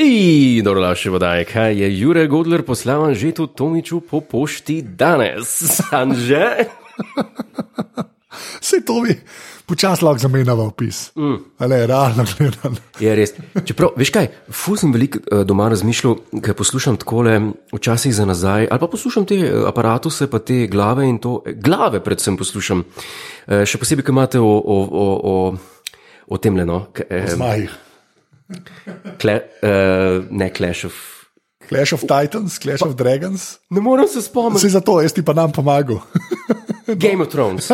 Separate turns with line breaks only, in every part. In dobrodošli v oddaji, kaj je Jure Godler poslal Anžetu Tomiču po pošti danes. Anže?
Vse to bi počasi lahko zamenjal opis. Mm. Ale realno gledano.
Je res. Čeprav, veš kaj, ful sem veliko eh, doma razmišljal, ker poslušam takole, včasih za nazaj, ali pa poslušam te eh, aparatuse, pa te glave in to, eh, glave predvsem poslušam. Eh, Še posebej, ki imate o, o, o, o, o tem leno,
Zmaj.
eh, kle, eh, ne Clash of.
Clash of Titans, Clash of Dragons.
Ne morem se spomniti.
Vse zato, jaz ti pa nam pomagal.
Game of Thrones.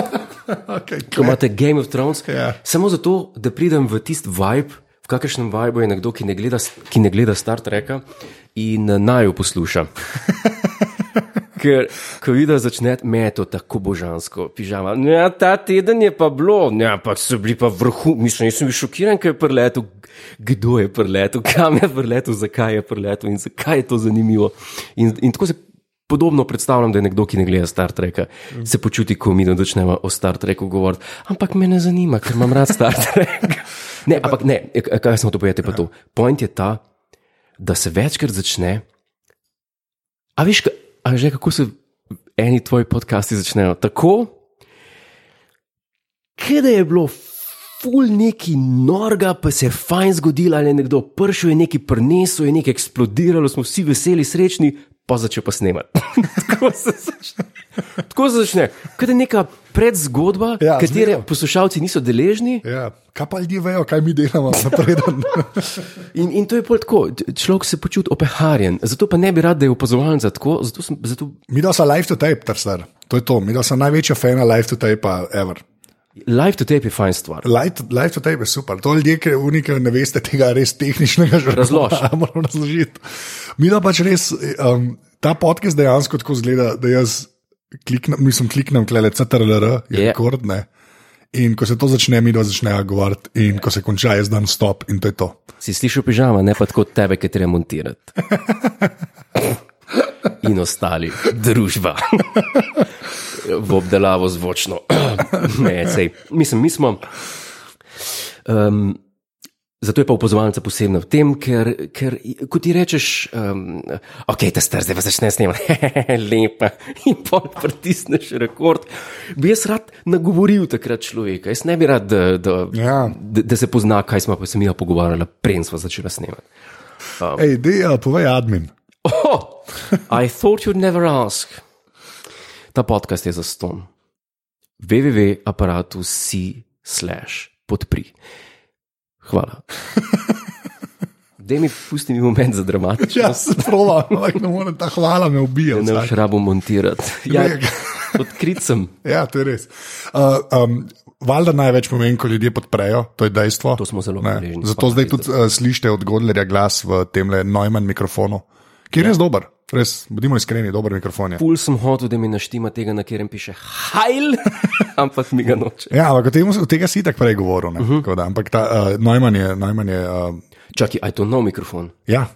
okay,
Ko
Clash-
imate Game of Thrones,
Ja.
samo zato, da pridem v tisti vibe, v kakršnem vibu je nekdo, ki ne gleda, ki ne gleda Star Treka in eh, naj jo posluša. Ker, ko vidiš, začne meto tako božansko, pižama. Ja, ta teden je pa bilo, ja, ampak so bili pa vrhu, mislim, jaz sem bil šokiran, ker je preletel, kdo je preletel, kam je preletel, zakaj je preletel in zakaj je to zanimivo. In, in tako se podobno predstavljam, da je nekdo, ki ne gleda Star Treka, se počuti, ko mi začnemo o Star Treku govoriti. Ampak me ne zanima, ker imam rad Star Trek. Ne, ampak ne, eh, kaj smo to povedali, pa to. Point je ta, da se večkrat začne. A veš, ka- a že kako se eni tvoji podcasti začnejo? Tako, kje je bilo ful neki norga, pa se je fajn zgodilo, ali je nekdo pršil, je nekaj prinesel, je nekaj eksplodiralo, smo vsi veseli, srečni, pa začel pa snemati. Tako se začne. Tako se začne. Kaj je neka predzgodba, ja,
Ja,
katere
zmerno.
poslušalci niso deležni,
Ja, kaj pa ljudje vejo, kaj mi delamo, napreden.
In, in to je pol tako, č- človek se počuti opeharjen, zato pa ne bi rad, da je opazovan za tako. Zato sem, zato
mi da so live to tape, trsar. To je to, mi da so največja fena live to tape, ever.
live to tape je fajn stvar.
Live, live to tape je super. To ljudje, ki unika ne veste tega res tehničnega žrtva.
Razloži.
Moram razložiti. Mi da pač res, um, ta podcast dejansko tako zgleda, da jaz kliknem, mislim, kliknem, klele CTRLR, je
Je.
yeah. rekordne. In ko se to začne, mi da začnejo govoriti, in ko se konča, jaz dam stop in to je to.
Si slišal pižama, ne pa tako od tebe, ki treba montirati. In ostali, družba. v obdelavo zvočno. ne, sej, mislim, mi smo. Um, Zato je pa opozovalnica posebna v tem, ker, ker ko ti rečeš, um, ok, ta star zdaj pa začne snemati, lepa, in pol pritisneš rekord, bi jaz rad nagovoril takrat človeka. Jaz ne bi rad, da, da,
Ja.
da, da se pozna, kaj smo pa se mi pogovarjali, preden smo začeli snemati.
Ej, dej, uh, povej admin.
Oh, I thought you'd never ask. Ta podcast je za ston. www.aparatus.slash podpri. Hvala. Dej mi pusti mi moment za dramatično.
Ja, se prova, ampak ne morem, ta hvala me ubija.
Ne
vsak.
boš rabo montirati. Ja,
Ne.
odkrit sem.
Ja, to je res. Uh, um, Valjda največ pomeni, ko ljudje podprejo, to je dejstvo.
To smo zelo
Ne.
hvaležni.
Zato zdaj tudi uh, slišite od Godlerja glas v tem le Neumann mikrofonu, ki
Ja.
je res dober, res, bodimo iskreni, dober mikrofon je.
Pul sem hotel, da mi naštima tega, na katerem piše Hajl, ampak mi ga noče.
Ja, ampak o, tem, o tega si tako prej govoril, ne,
Mhm.
tako da, ampak ta uh, Neumann je, Neumann je uh,
Čakaj, aj to nov mikrofon.
ja,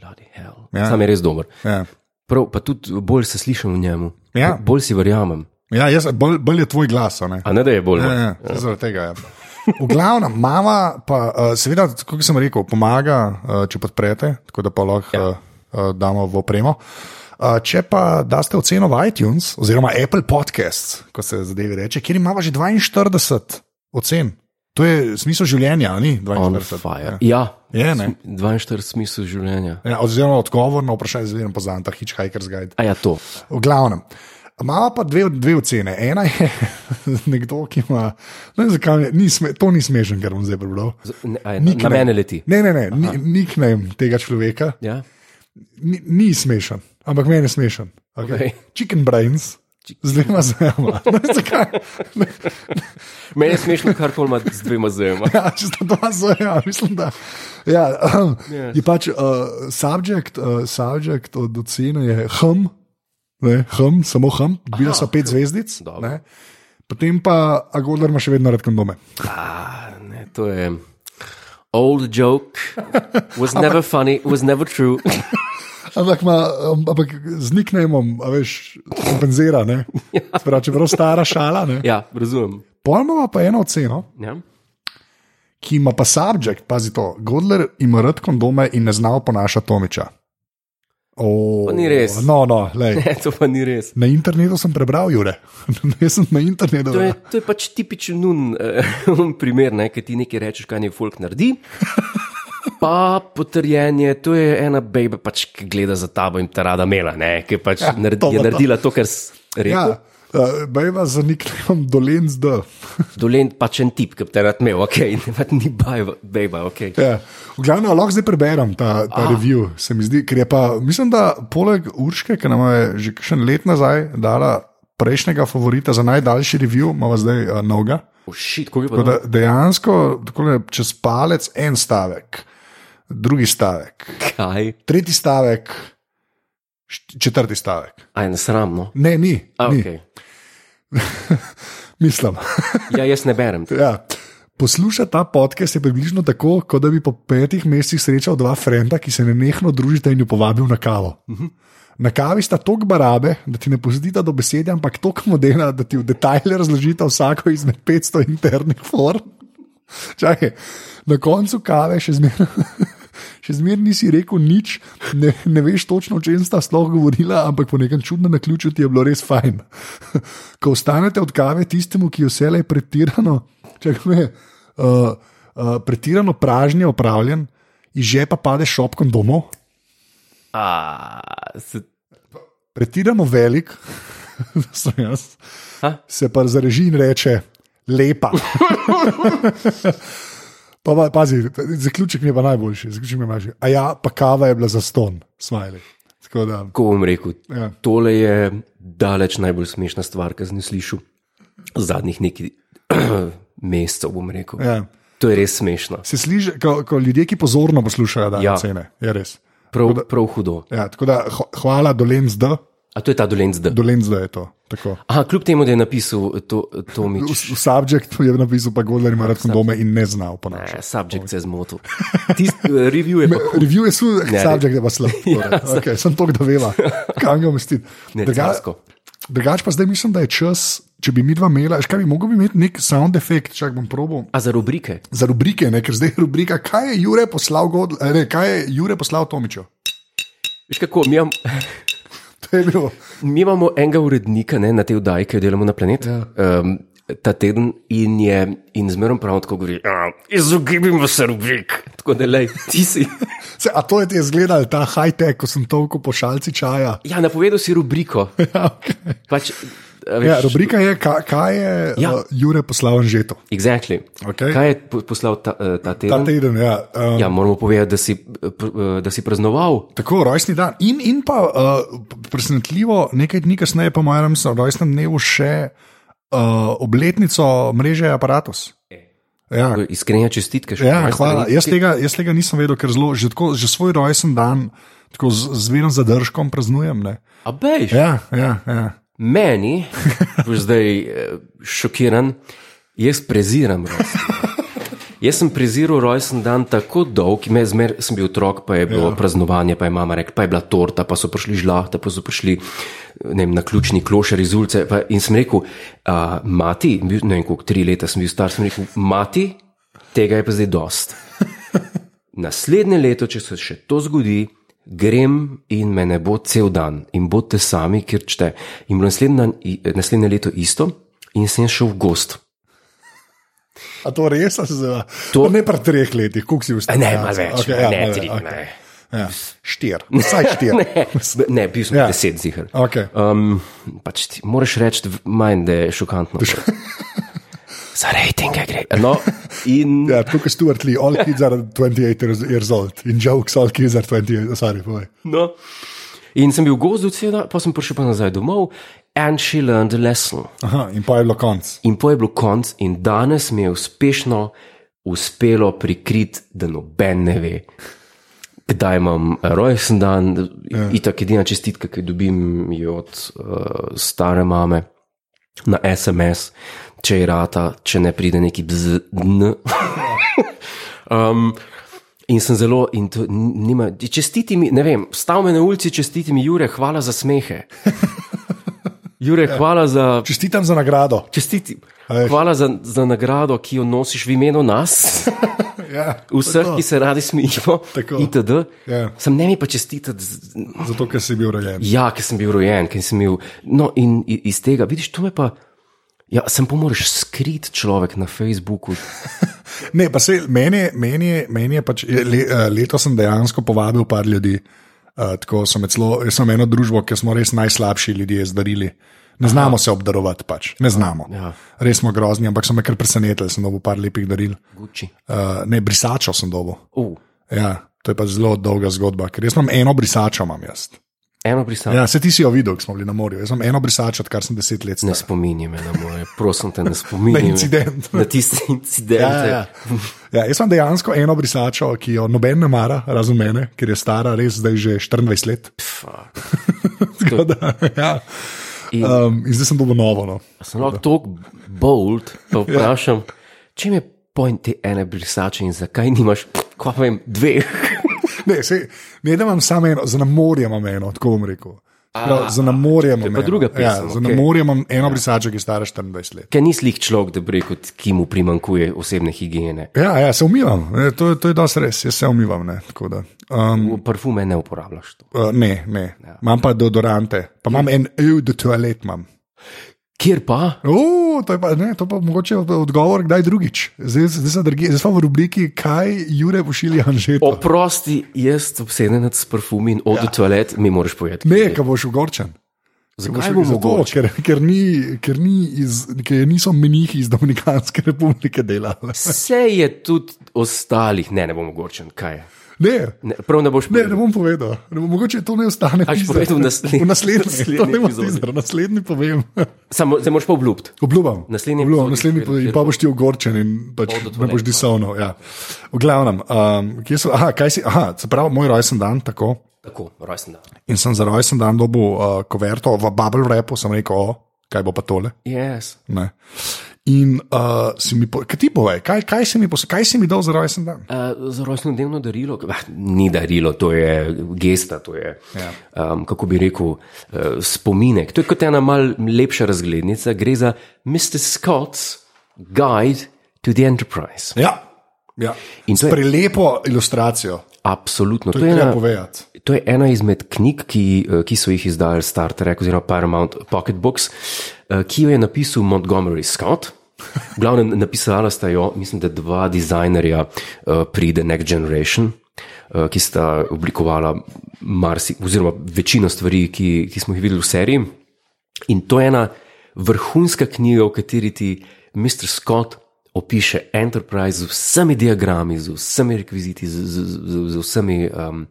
Bloody hell.
Ja.
Sam je res dober.
ja.
Prav, pa tudi bolj se slišim v njemu.
Ja.
Bolj si verjamem.
ja jaz, bolj, bolj je tvoj glas, a ne.
A ne, da je bolj.
Ja, ja, saj zaradi tega. Ja. V glavnem, mama pa, eh, seveda, kot sem rekel, pomaga, eh, če podprete, tako da pa lahko ja. damo v opremo. Eh, Če pa daste oceno v iTunes, oziroma Apple Podcasts, kot se zadevi reče, kjer imamo že 42 ocen. To je smisel življenja, a ni
On
42.
fire. Ja,
Je, ne?
42 smisel življenja.
Ja, oziroma odgovor na vprašanje, zelo poznan, ta Hitchhiker's Guide.
A ja, to.
V glavnem. Imamo pa dve, dve ocene. Ena je nekdo, ki ima, ne vem zakaj, mi- ni sme, to ni smešen, kar bom zdaj prebral.
Z- Ne, a, je, na na mene leti.
Ne, ne, ne, ni- nickname tega človeka
Ja?
ni, ni smešen, ampak meni je smešen. Okay.
Okej.
Okay. Chicken brains. Z dvema zajema. Ne vem zakaj. Ne,
Meni je smešno, kar koli ima z dvema zema.
Ja, če sta dva zajema, mislim, da. Ja, je pač uh, subject, uh, subject od ocene je hum, ne, hum samo hum, bila so pet zvezdic.
Dobro.
ne. Potem pa Agodar ima še vedno rad kondome.
A, ne, to je. Old joke was never funny, was never true.
Ampak, ima, um, ampak z nicknameom, a veš, kompenzira. Ne? Sprav, čeprav stara šala. Ne?
Ja, razumem.
Pojmo pa eno oceno,
Ja?
ki ima pa subjekt, pazi to, Godler ima rad kondome in ne zna oponašati Tomiča. Oh,
Pa ni res.
No, no, lej.
Ne, to pa ni res.
Na internetu sem prebral, Jure. Jaz sem na internetu.
To je, to je pač tipičen nun, eh, un primer, ne, ki ti nekaj rečeš, kaj nek folk naredi. Pa potrjenje, to je ena bebe, pač, ki gleda za tabo in ta rada mela, ne, ki pač ja, naredi,
to bo
je
to.
naredila to, kar si rekel.
Ja, uh, bajva za nikom dolen zdaj.
Ja. Dolen pač en tip, ki bi te rad imel, okay, ne, pač ni bajba, beba, ok.
Ja. V glavnem, lahko zdaj preberem ta, ta review, se mi zdi, ker je pa, mislim, da poleg Urške, ki nam je že kakšen let nazaj dala prejšnjega favorita za najdaljši review, imamo zdaj uh, noga.
Ušit, Oh, kako je
Tako
bilo.
da dejansko takole, čez palec en stavek, drugi stavek,
Kaj?
tretji stavek, št- četrti stavek.
Aj, nesramno.
Ne, ni,
no? A,
ni.
okay.
mislim.
Ja, jaz ne berem.
Ja. Poslušati ta podcast je približno tako, kot da bi po petih mesecih srečal dva frenda, ki se ne nehno družita in ju povabil na kavo. Mhm. Na kavi sta tako barabe, da ti ne pozidita do besede, ampak tako modena, da ti v detajle razložita vsako izmed 500 internih form. Čakaj, na koncu kave še zmeraj. Še zmeraj nisi rekel nič, ne, ne veš točno, o čem sta sploh govorila, ampak po nekem čudnem naključju ti je bilo res fajn. Ko ostanete od kave tistemu, ki je vselej pretirano, čakaj, me, uh, uh, pretirano pražnje opravljen, iz žepa pade šopkom domov,
A, se,
pretirano velik, sem jaz,
Ha?
se pa zareži in reče: lepa. pa, pa, pazi, t- zaključek mi je pa najboljši, zaključek mi je najboljši. A ja, pa kava je bila za ston, smajli. Tako da,
kako bom rekel,
Ja.
ja. tole je daleč najbolj smešna stvar, ki sem jo slišal zadnjih nekaj mesecev. bom rekel.
ja.
To je res smešno,
Se sliši, ko, ko ljudje, ki pozorno poslušajo, da ja.
Ja.
cene, je res.
prav, prav hudo.
Ja, tako da, ho- hvala, dolenc D,
A to je ta dolenc D.
dolenc D je to. Tako.
Aha, kljub temu, da je napisal to, to mi
V, v subjektu je napisal, pa Godler ima rad kondome in ne zna oponašati.
subjekt e, se je zmotil. Tisti eh, review je pa
Review je sul,
Ne,
subjekt je pa slab. ja, okay, sem to, da veva, kam ga umestiti.
Ne,
Druga-
carsko.
Drugač pa zdaj mislim, da je čas, če bi mi dva imela, še kaj bi mogel bi imeti nek sound effect, čak bom probal.
A za rubrike.
Za rubrike, ne, ker zdaj je rubrika, kaj je Jure poslal, God, eh, ne, kaj je Jure poslal Tomiču.
Veš kako, mi, imam,
To je bilo.
mi imamo enega urednika ne, na tej oddaji, ki jo delamo na planetu. Ja. Um, Ta teden in je, in zmerno prav tako govori, "Ja, izogibimo se rubrik. Tako da, lej, ti si.
Se, a to je ti izgledal, ta high-tech, ko sem tolko po šalci čaja.
Ja, napovedal si rubriko.
Ja, okay.
Pač, a veš,
ja, rubrika je, kaj, kaj je ja.
Ja.
uh, Jure poslal Anžetu.
exactly.
Okej.
Kaj je po- poslal ta, eh, ta
Ta
teden?
teden, ja. Um,
Ja, moramo povedati, da si, eh, pr- eh, da si praznoval.
Tako, rojstni dan. In, in pa uh, presenetljivo, nekaj dni kasneje, po mojem rojstnem dnevu, še uh, obletnico mreže Apparatus.
E.
Ja,
Iskrene čestitke. še
ja,
enkrat.
hvala. Jaz tega, jaz tega nisem vedel, ker zelo, že, tako, že svoj rojsten dan tako z zvenom zadržkom praznujem. Ne?
A bejš, ja.
Ja, ja, ja.
meni, boš zdaj eh, šokiran, jaz preziram rojsten dan. Jaz sem preziral rojsten dan tako dolg, me zmer sem bil otrok, pa je bilo ja. praznovanje, pa je mama rekla, pa je bila torta, pa so prišli žlahta, pa so prišli ne vem, na ključni klošar iz ulice. Pa, in sem rekel, a, mati, bil- ne vem, koliko tri leta sem bil star, sem rekel, mati, tega je pa zdaj dost. Naslednje leto, če se še to zgodi, grem in me ne bo cel dan in bodite sami, kjer čte. In bilo je naslednji dan, i- naslednje leto isto, in sem šel v gost.
A to res ali se zdaj?
To-
Ne pri treh letih, koliko si
A
vstal?
Ne, malo več, okay, ja, ne, tri, okay. ne.
Ja. Štir, vsaj štir.
Ne, ne, bil sem
Ja.
ja. deset zihar.
okay.
Um, pač ti moraš reči v- manj, da je šokantno. Za rejtinge gre. No, in
Ja, tako kot Stuart Lee, all kids are 28 years- years old in jokes, all kids are 28, sorry, povej.
No. In sem bil v gozdu, cena, pa sem prišel pa nazaj domov, and she learned a lesson.
Aha, in pa je bilo konc.
In po je bilo konc, in danes mi je uspešno uspelo prikriti, da noben ne ve, kdaj imam rojsten dan. Ja. Itak edina čestitka, ki jo dobim, je od uh, stare mame na SMS, če je rata, če ne pride neki bzdn. um, In sem zelo, in to n- nima, čestiti mi, ne vem, stav me na ulici, čestiti mi, Jure, hvala za smehe. Jure, hvala za.
Čestitam za nagrado.
Čestiti. Hvala za, za nagrado, ki jo nosiš v imenu nas,
Ja,
vseh,
tako.
ki se radi smejimo.
Tako.
Itd.
Ja.
Sem ne mi pa čestitati, z-
Zato, ker si bil rojen.
ja, ker sem bil rojen, ker sem bil. No, in i- iz tega, vidiš, to me pa. Ja, sem pa moraš skrit človek na Facebooku.
Ne, pa se meni, meni, meni je pač, le, eh, letos sem dejansko povabil par ljudi. Uh, tako sem celo, jaz sem eno družbo, ki smo res najslabši ljudje zdarili. Ne znamo Aha. se obdarovati, pač. ne znamo.
Ja.
Res smo grozni, ampak so me kar presenetili, sem dobil par lepih daril.
Guči.
Uh, ne, brisačo sem dobil.
Uh,
Ja, to je pa zelo dolga zgodba, ker jaz imam eno brisačo, imam jaz.
eno prisam.
Ja, se ti si jo videl, ko smo bili na morju. Jaz imam eno brisačo, odkar sem deset let
Ne
star.
spominji me na moje, prosim te, ne spominji
Na
me.
incident.
Na tiste
Ja,
incidente.
ja. ja, jaz imam dejansko eno brisačo, ki jo noben ne mara, razen mene, ker je stara res zdaj že 24 let. Tako da, ja.
In-
um, in zdaj sem dobil novo. No.
A Sem lahko tako bold, pa vprašam, če mi je point te ene brisače in zakaj nimaš, kva pa vem, dveh.
Ne, se, ne, da imam samo eno, za na morje imam eno, tako bom rekel. Prav, za na morje imam
pa
eno.
druga pesem,
ja, za na
okej.
morje imam eno brisačo, ki je stara 24 let.
Ker ni slih človek, da bi rekel, ki mu primankuje osebne higiene.
Ja, ja, se umivam, e, to, je- to je dosti res, jaz se umivam. Ne, tako da, um,
V Parfume ne uporabljaš. To.
Uh, ne, ne. Ja. Imam pa deodorante, pa imam en EU de toalet. imam.
Kjer pa?
O, to je pa, ne, to pa mogoče od- odgovor kdaj drugič. Zdaj, zdaj, sem drugje- zdaj smo v rubriki, kaj Jure pošilja Anžetu.
Oprosti, jaz obseden s parfumi in od ja. toalet mi moraš povedati.
Ne, ki boš ogorčen. Ko boš-
Zakaj bo
zato,
mogoče?
Ker, ker, ni, ker, ni iz, ker niso menihi iz Dominikanske republike delali.
Vse je tudi ostalih, ne, ne bo mogoče. Kaj je?
Ne,
Ne, prav ne boš
ne, ne bom povedal. Ne, bom- mogoče to ne ostane.
A boš
tizer.
povedal v naslednji-
v naslednji,
naslednji
to ne bo
epizodi.
tizer, naslednji povem.
Samo, zdaj moraš pa obljubiti.
Obljubam.
Naslednji
Obljubam,
epizodi,
naslednji
kjer-
po, in
kjer
pa
bo-
boš ti ogorčen in pač
Bodo
ne boš
toaletno.
disovnal. Ja. V glavnem, um, kje so, aha, kaj si, aha, se pravi, moj rojsten dan tako.
Tako, rojsten dan.
In sem za rojsten dan dobil uh, koverto v Bubble Rapu, sem rekel, o, kaj bo pa tole.
Yes.
Ne. In uh, si mi, po- kaj ti povej, kaj, kaj, si mi pos, kaj si mi dal za rojsten dan?
Uh, za rojstnodnevno darilo, ah, ni darilo, to je gesta, to je,
Ja.
ja. um, kako bi rekel, uh, spominek. To je kot ena malce lepša razglednica, gre za Mr. Scott's Guide to the Enterprise.
Ja, ja.
In to
s
je-
prelepo ilustracijo,
Absolutno.
to je treba povedati.
To je ena izmed knjig, ki, eh, ki so jih izdali Star Trek oziroma Paramount Pocket Books, eh, ki jo je napisal Montgomery Scott. V glavnem napisala sta jo, mislim, da dva dizajnerja eh, pri The Next Generation, eh, ki sta oblikovala marsi, oziroma večino stvari, ki, ki smo jih videli v seriji. In to je ena vrhunska knjiga, v kateri ti Mr. Scott opiše Enterprise z vsemi diagrami, z vsemi rekviziti, z, z, z, z vsemi. Um,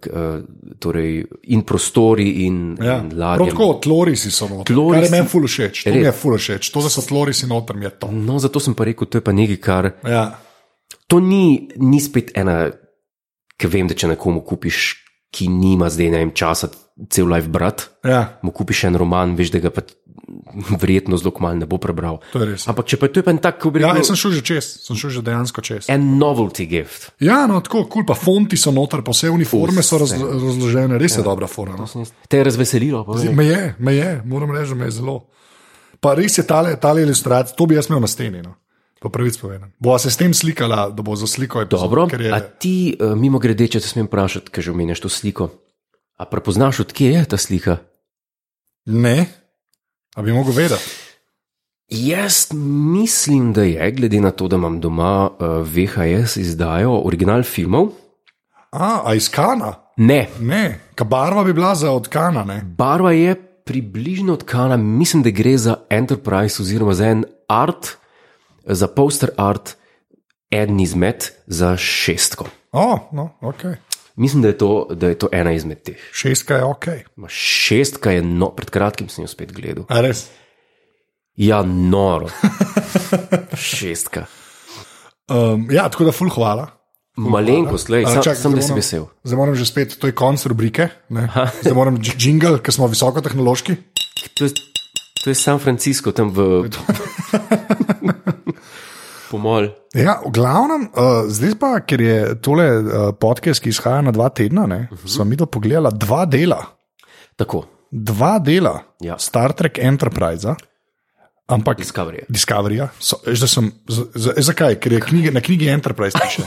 k- eh, Torej, in prostori, in,
Ja.
in
Prav
ladje.
tako tlorisi so noter.
Tlorisi-
Tlorisi... Meni je ful všeč, to
Res.
mi je ful všeč, to, da so tlorisi noter, mi je to.
No, zato sem pa rekel, to je pa nekaj, kar.
Ja.
To ni, ni spet ena, ki vem, da če nekomu kupiš, ki nima zdaj ne vem, časa, cel life brat,
Ja,
mu kupiš en roman, veš, da ga pa verjetno zelo malo ne bo prebral.
to je res.
Ampak če pa to je pa en tak, kako bi
Ja,
rekel,
jaz sem šel že čez, sem šel že dejansko čez.
en novelty gift.
Ja, no, tako kul, cool, pa fonti so noter, pa vse uniforme so raz, razložene, res
Ja.
je dobra forma. No.
Te je razveselilo. povej.
Me je, me je, moram reči, da me je zelo. Pa res je tale, tale ilustracija, to bi jaz imel na steni. No. Po pravici povedano. Bo se s tem slikala, da bo za sliko epizodo,
Dobro,
ker je
a ti, eh, mimo grede, če te smem vprašati, ker že omenjaš to sliko. A prepoznaš, odkje je ta slika?
Ne, a bi mogel vedeti.
Jaz mislim, da je, glede na to, da imam doma eh, VHS izdajo original filmov.
A, a iz kana?
Ne,
Ne, ka barva bi bila za od kana, ne?
barva je približno tkana, mislim, da gre za Enterprise oziroma za en art, za poster art, en izmed za šestko.
O, no, ok.
Mislim, da je to, da je to ena izmed teh.
Šestka je ok.
Ma Šestka je, no, pred kratkim sem jo spet gledal.
A res.
Ja, noro. Šestka.
Um, ja, tako da ful hvala.
Malenkost, lej,
A,
sam,
čakaj,
sam da
zdaj
si
moram-
vesel.
Zdaj moram že spet, to je konc rubrike, ne. zdaj moram jingle, ker smo visoko tehnološki.
To je, to je San Francisco, tam v. Pomol.
Ja, v glavnem, uh, zdaj pa, ker je tole eh,
Mhm.
uh, podcast, ki izhaja na dva tedna, ne, uh -huh. smo mi to pogledali dva dela.
Tako.
dva dela
Ja.
Star Trek Enterprise, ampak
Discovery.
Discoveryja. So- veš, da sem- z- z- e, Zakaj? Ker je knjige, na knjigi Enterprise piše.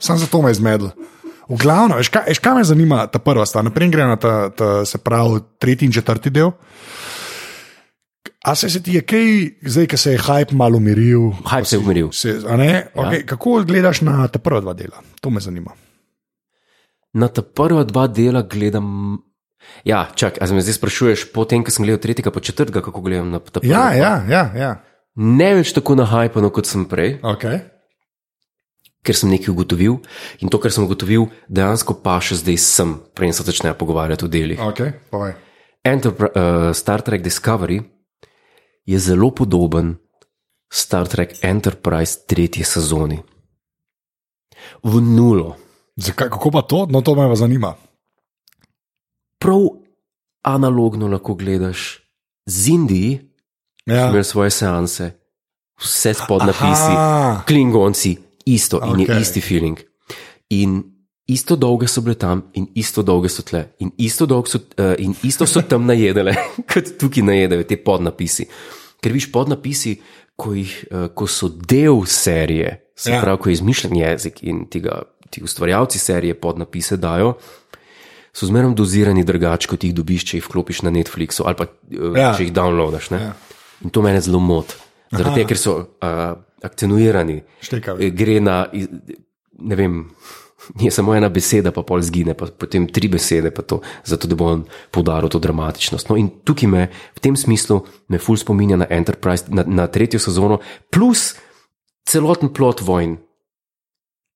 Sam zato me je zmedel. V glavnem, veš, kaj, veš, kaj me zanima ta prva stvar, naprej gre na ta, ta se pravi tretji in četrti del. A se, se ti je kaj, zdaj, ko se je hype malo umiril?
Hype se je umiril.
Se, a ne? okay, kako gledaš na ta prva dva dela? To me zanima.
Na ta prva dva dela gledam. Ja, čakaj, a se me zdaj sprašuješ, potem, ko sem gledal tretjega, pa četrtega, kako gledam na ta prvi.
Ja, ja, ja. ja.
Ne več tako nahajpano, kot sem prej,
Okay.
ker sem nekaj ugotovil in to, kar sem ugotovil, dejansko pa še zdaj sem, preden se začnejo pogovarjati o delih.
Okay, povej.
Enterpri- uh, Star Trek Discovery je zelo podoben Star Trek Enterprise tretji sezoni. V nulo.
Zakaj, kako pa to? No, to me pa zanima.
Prav analogno lahko gledaš z Indiji,
Ja.
imaš svoje seanse, vse spod napisi,
Aha.
klingonci, isto in okay.
Okej.
je isti feeling. In isto dolge so bile tam, in isto dolge so tle, in isto, dolg so, uh, in isto so tam najedele, kot tukaj najedajo te podnapisi. Ker viš podnapisi, ko, jih, uh, ko so del serije, se
Ja.
ja. pravi, ko je izmišljen jezik in tega, ti ustvarjalci serije podnapise dajo. So zmerno dozirani drugače, kot jih dobiš, če jih vklopiš na Netflixu ali pa
Ja.
ja. če jih downloadaš. Ja. In to mene zelo moti, zaradi tega, ker so uh, akcentuirani.
Štekavi.
Eh, Gre na, iz- ne vem, je samo ena beseda, pa pol zgine, pa potem tri besede, pa to, zato da bo on poudaril to dramatičnost. No, in tukaj me v tem smislu me ful spominja na Enterprise, na, na tretjo sezono, plus celoten plot vojn.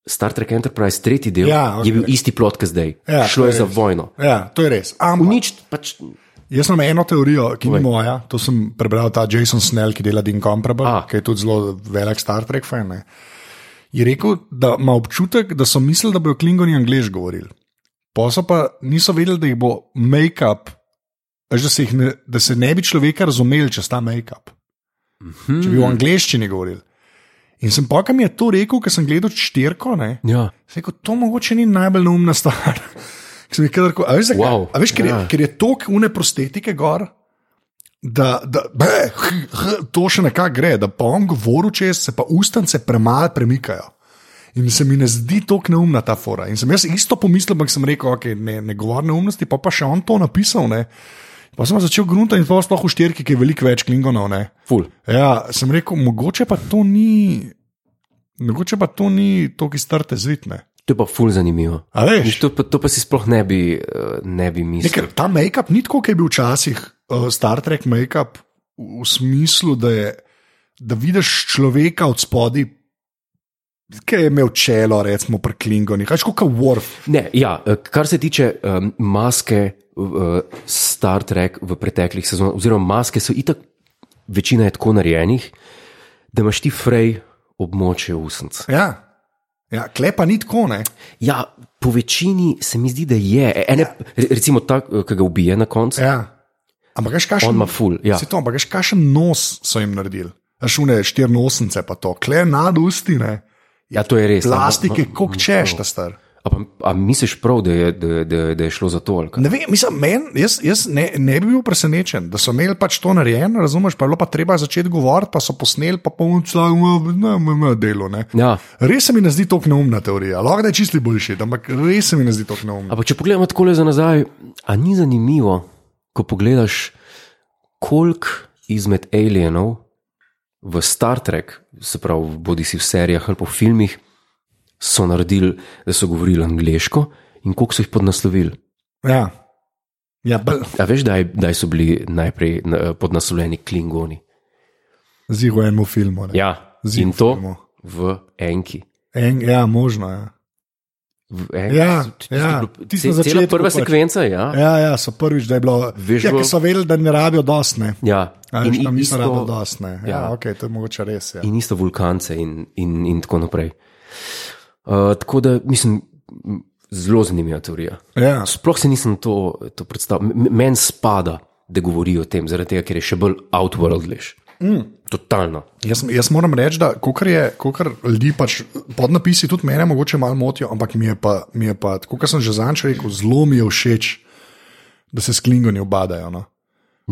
Star Trek Enterprise, tretji del,
Ja,
je bil
okej.
isti plot, kot zdaj.
Ja,
Šlo je
res.
za vojno.
Ja, to je res. Ampak
Unič, pač,
jaz imam eno teorijo, ki ni moja. To sem prebral ta Jason Snell, ki dela Dean Comprable,
A.
ki je tudi zelo velik Star Trek fan. Ne. Je rekel, da ima občutek, da so mislili, da bodo klingoni angliš govorili. Posel pa niso vedeli, da jih bo make-up, veš, da, se jih ne, da se ne bi človeka razumeli, če sta make-up. Če bi v angliščini govorili. In sem pa, kam je to rekel, ker sem gledal štirko, ne,
ja.
Se rekel, to mogoče ni najbolj neumna stvar. Ki sem jih kadarkoli- A veš, zakaj?
Wow,
A veš, ker, ja.
ja.
je, ker je tok une prostetike gor. Da, da be, h, h, to še nekako gre, da pa on govori čez, se pa ustnice premalo premikajo. In se mi ne zdi tako neumna ta fora. In sem jaz isto pomislil, ampak sem rekel, okay, ne, ne govor neumnosti, pa pa še on to napisal. Ne. Pa sem začel gruntati in pa sploh v štirki, ki je veliko več klingonov. Ne.
Ful.
Ja, sem rekel, mogoče pa to ni, mogoče pa to ni to, ki strte zvitne.
To je pa ful zanimivo.
A
Viš,
veš,
to, pa, to pa si sploh ne bi, eh, ne bi mislil.
nekaj, ta make-up ni tako, kot je bil včasih uh, Star Trek make-up, v v smislu, da, je, da vidiš človeka od spodaj, ki je imel čelo, recimo pri Klingonih, kaj kot Warf.
Ne, ja, eh, kar se tiče um, maske uh, Star Trek v preteklih sezonah, oziroma maske so itak, večina je tako narejenih, da imaš ti frej območje usnc.
Ja. Ja, klepa ni tako, ne.
Ja, po večini se mi zdi, da je. E- Ene, re- recimo ta, eh, ki ga ubije na koncu,
Ja. Ampak, veš,
on
kakšen,
ima ful. Ja.
Si to, ampak, veš, kakšen nos so jim naredili. Šune, štirnosence pa to, kle nad ustine,
ja, to je res. no,
plastike, koliko češ ta star.
Ampak misliš prav, da je, da, da, da je šlo za to? ali kaj?
Ne vem, mislim, men, jaz, jaz ne, ne bi bil presenečen, da so imeli pač to narejeno, razumeš, pa je bilo pa treba začeti govoriti, pa so posneli, pa pomnili, da ima delo. Ne.
Ja.
Res se mi ne zdi tako neumna teorija, lahko da je čisti boljši, ampak res se mi ne zdi tako neumna.
Ampak, če pogledamo tako za nazaj, a ni zanimivo, ko pogledaš, koliko izmed alienov v Star Trek, se pravi, bodi si v serijah ali pa v filmih, so naredili, da so govorili angliško in koliko so jih podnaslovili.
Ja, ja bl,
A veš, da daj so bili najprej eh, podnaslovljeni klingoni.
zigo enemu filmu. ne.
Ja,
Zig
in to
filmu.
v enki.
En, ja, možno. Ja.
V enki
Ja,
so tisto
ja,
bilo-
tisto na
ce- cela
začetku
prva
pač.
sekvenca, ja.
Ja, ja, so prvič, da je bilo.
Veš,
ja,
bo-
ker so vedeli, da ne rabijo dosne.
ja.
Ja,
In
veš, tam
i- isto-
nisem rabil dosne. Ja, ja,
ja.
ok, to je mogoče res. Ja.
in isto vulkance in, in, in tako naprej. Uh, tako da mislim, m, zelo zanimiva teorija.
Ja.
Sploh se nisem to, to predstavljal. M- m- Meni spada, da govori o tem, zaradi tega, ker je še bolj outworldliš. Mm. Totalno.
Jaz, jaz moram reči, da kolikor je, kolikor ljudi pač podnapisi tudi mene mogoče malo motijo, ampak mi je pa, mi je pa tako kot sem že zanč rekel, zelo mi je všeč da se s klingoni obadajo. No?